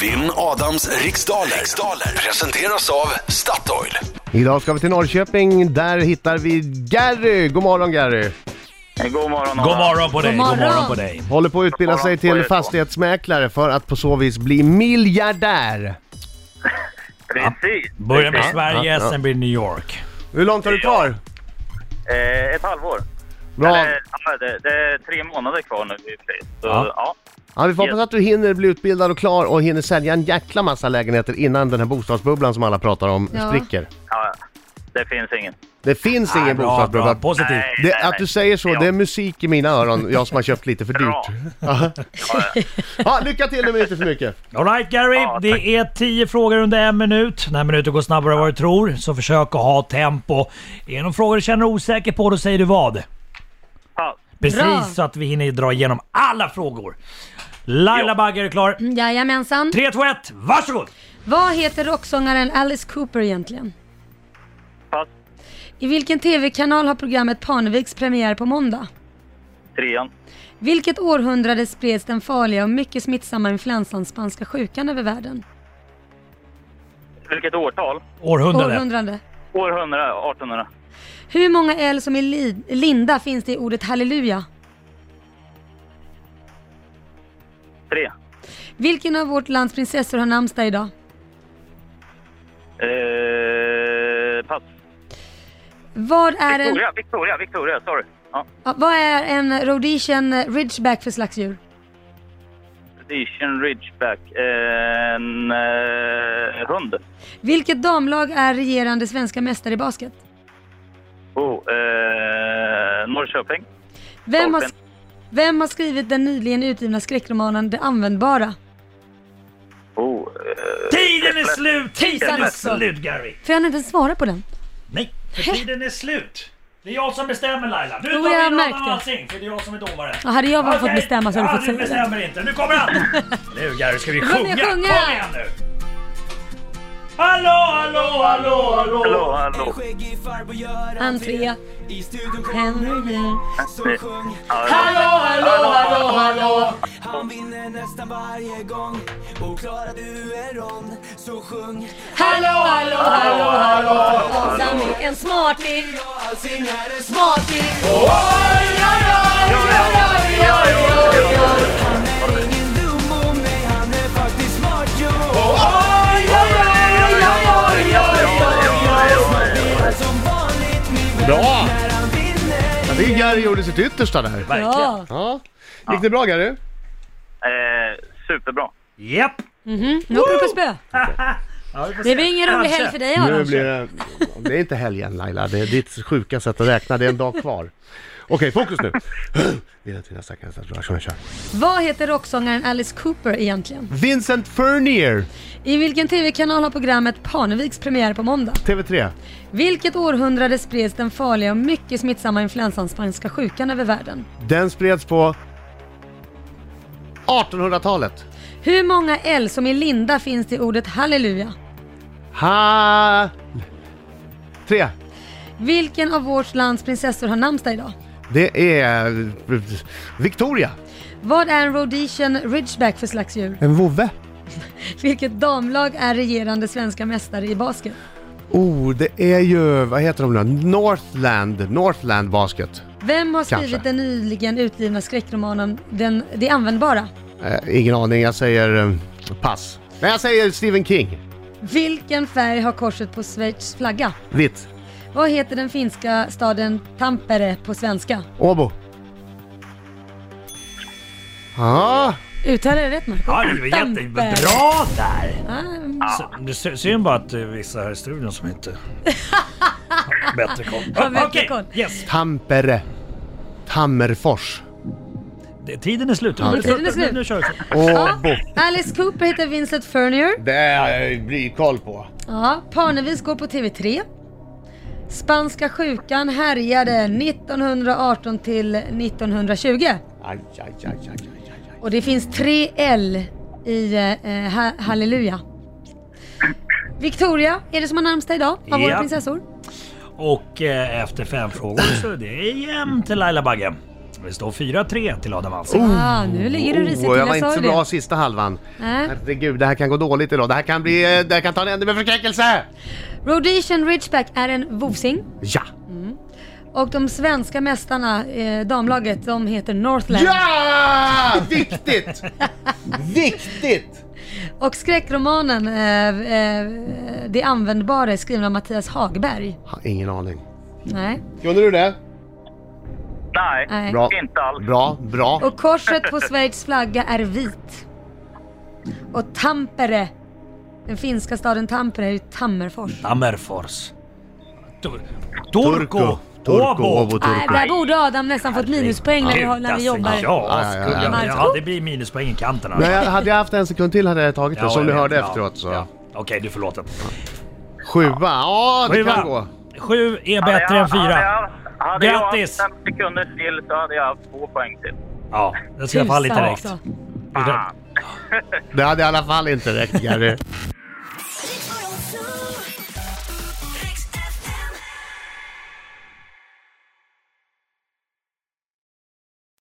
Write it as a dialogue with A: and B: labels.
A: Vinn Adams riksdaler. riksdaler presenteras av Statoil.
B: Idag ska vi till Norrköping, där hittar vi Gary! God morgon Gary!
C: God morgon.
D: God morgon på dig,
E: God
D: god morgon
E: morgon.
D: på dig.
B: Håller på att utbilda sig till fastighetsmäklare för att på så vis bli miljardär.
C: Precis.
D: Börja med
C: Precis.
D: Sverige,
B: ja.
D: sen blir det New York.
B: Hur långt har du kvar?
C: Eh, ett halvår.
B: Bra!
C: Eller, ja, det, det är tre månader kvar nu i och för sig. Så,
D: Ja.
C: ja.
B: Ja, vi får hoppas att du hinner bli utbildad och klar och hinner sälja en jäkla massa lägenheter innan den här bostadsbubblan som alla pratar om
E: Ja.
B: spricker.
C: ja, det finns ingen.
B: Det finns
D: Ja,
B: ingen
D: bra, bra,
B: bostadsbubbla.
D: positivt.
C: Nej,
B: Det,
C: nej, nej.
B: att du säger så,
C: Ja.
B: det är musik i mina öron, jag som har köpt lite för
C: Bra.
B: dyrt. Ja. Ja, lycka till nu men inte för mycket.
D: Alright Gary,
C: Ja, tack.
D: det är 10 frågor under en minut. Den här minuten går snabbare än vad du tror, så försök att ha tempo. Är det någon fråga du känner dig osäker på, då säger du vad.
C: Pass.
D: Precis
E: Bra.
D: så att vi hinner dra igenom alla frågor. Laila
C: Ja.
D: Bagge, är du klar?
E: Mm, Jajamensan.
D: 3, 2, 1, varsågod!
E: Vad heter rocksångaren Alice Cooper egentligen?
C: Pass.
E: I vilken TV-kanal har programmet Parneviks premiär på måndag?
C: Trean.
E: Vilket århundrade spreds den farliga och mycket smittsamma influensan spanska sjukan över världen?
C: Vilket årtal?
D: Århundrade.
E: Århundrade.
C: Århundrade, 1800.
E: Hur många L som i li- Linda finns det i ordet halleluja?
C: Tre.
E: Vilken av vårt lands prinsessor har namnsdag idag?
C: Eh, pass.
E: Vad är en,
C: Victoria, Victoria, Victoria, sorry. Ja.
E: ja, vad är en Rhodesian ridgeback för slags djur?
C: Rhodesian Ridgeback. Eh, En eh, hund.
E: Vilket damlag är regerande svenska mästare i basket?
C: Oh, eh, Norrköping.
E: Vem har,
C: Torpen.
E: vem har skrivit den nyligen utgivna skräckromanen Det användbara?
C: Oh, eh,
D: Tiden är slut! Tiden är
E: också.
D: slut Gary!
E: Får jag inte ens svara på den?
D: Nej, för tiden är slut. Det är jag som bestämmer Laila. Nu
E: Jo,
D: tar
E: jag har
D: vi in
E: märkt
D: Adam
E: det.
D: Alsing, för det är jag som är domare.
E: Ja, hade jag bara fått
D: Okej.
E: bestämma så hade du
D: ja,
E: fått
D: du
E: säga det.
D: bestämmer inte. Nu kommer han! Nu Gary ska vi
E: kommer
D: sjunga.
E: jag
D: Kom
E: sjunga.
D: igen nu! Hallå, hallå, hallå, hallå!
C: hallå, hallå.
E: Entré.
F: I studion
E: Henry.
F: så sjung
D: Hallå, hallå, hallå, hallå!
F: Han vinner nästan varje gång Och klarar du en rond Så sjung
E: Hallå, hallå, hallå, hallå! Samling en smart lill.
F: Allting är en smak
E: Smart lill.
F: Han är ingen dum om mig Han är faktiskt smart jo Han är Som vanligt min vän
B: Bra!
F: När han vinner
B: Ja, det är Gary gjorde sitt yttersta där.
E: Ja.
B: Ja. Gick det bra Gary?
C: Eh, superbra.
D: Japp!
E: Nu åker du på spö.
D: Ja, vi får se.
E: Det blir ingen rolig
D: Kanske.
E: helg för dig
B: Nu
E: Adam.
B: blir det... Det är inte helgen Laila, det är ditt sjuka sätt att räkna, det är en dag kvar. Okej, fokus nu!
E: Vad heter rocksångaren Alice Cooper egentligen?
B: Vincent Furnier,
E: I vilken TV-kanal har programmet Parneviks premiär på måndag?
B: TV3.
E: Vilket århundrade spreds den farliga och mycket smittsamma influensan spanska sjukan över världen?
B: Den spreds på 1800-talet.
E: Hur många L som i Linda finns det i ordet halleluja?
B: Ha... Tre.
E: Vilken av vårt lands prinsessor har namnsdag idag?
B: Det är eh, Victoria.
E: Vad är en Rhodesian Ridgeback för slags djur?
B: En vovve.
E: Vilket damlag är regerande svenska mästare i basket?
B: Oh, det är ju, vad heter de nu? Northland, Northland Basket.
E: Vem har skrivit
B: Kanske.
E: den nyligen utgivna skräckromanen den, Det användbara?
B: Eh, ingen aning, jag säger eh, pass. Men jag säger Stephen King.
E: Vilken färg har korset på Schweiz flagga?
B: Vitt.
E: Vad heter den finska staden Tampere på svenska?
B: Åbo. Ja,
E: Uttalar jag det rätt Marco?
D: Ja, det var jättebra där!
E: Ah,
D: Så, det sy- synd bara att det är vissa här i studion som inte har bättre koll.
E: Har bättre
D: Okej,
E: koll.
D: yes.
B: Tampere. Tammerfors.
D: Det- Tiden är slut. Nu-
E: tiden är slut.
D: Nu, nu kör vi.
B: Åbo.
E: Alice Cooper heter Vincent Furnier.
B: Det har jag koll på.
E: Ja, Parnevis går på TV3. Spanska sjukan härjade 1918 till 1920.
B: Aj, aj, aj, aj, aj, aj, aj.
E: Och det finns tre L i eh, ha- Halleluja. Victoria är det som har namnsdag idag av våra
D: Ja.
E: prinsessor.
D: Och eh, efter fem frågor så det är jämnt till Laila Bagge. Det står 4-3 till Adam Alsing.
E: Ah, nu ligger du risigt till,
B: Oh. jag var
E: jag
B: inte
E: sa ju
B: så bra
E: det. Eh,
B: sista halvan.
E: Nej.
B: Herregud, det här kan gå dåligt idag. Det här kan bli... eh, Det här kan ta en ände med förskräckelse!
E: Rhodesian Ridgeback är en vovsing
B: Ja!
E: och de svenska mästarna, eh, damlaget, de heter Northland.
B: Ja! Viktigt! Viktigt!
E: Och skräckromanen eh, eh, Det användbara är skriven av Mattias Hagberg.
B: Har ingen aning.
E: Nej.
B: Kunde du det?
C: Nej,
E: Nej.
B: Bra.
C: inte alls.
B: Bra, bra.
E: Och korset på Schweiz flagga är vit. Och Tampere, den finska staden Tampere är ju Tammerfors.
D: Tammerfors. Tur- Turku.
B: Turko, Åbo,
D: Åbo.
E: Nej,
B: Turko.
E: Äh, där borde Adam nästan fått minuspoäng när vi, har- när vi jobbar.
D: alltså. Ja,
B: Ja, ja,
D: skulle
B: ja.
D: jag- ja, det blir minuspoäng i kanten. här.
B: Nej, jag- hade jag haft en sekund till hade jag tagit det,
D: Ja,
B: som
D: jag
B: du
D: vet.
B: hörde
D: Ja,
B: efteråt så.
D: ja. Okej, du är förlåten.
B: Sjua, ja det kan gå.
D: Sjua. Sju är bättre än fyra.
C: Hade jag
D: Grattis.
C: haft fem sekunder till så hade jag haft två poäng till.
D: Ja, det ska jag falla lite
E: Tusan
D: direkt.
E: också.
C: Fan.
B: Det hade i alla fall inte räckt Gary.
G: Riks Morgonzoo.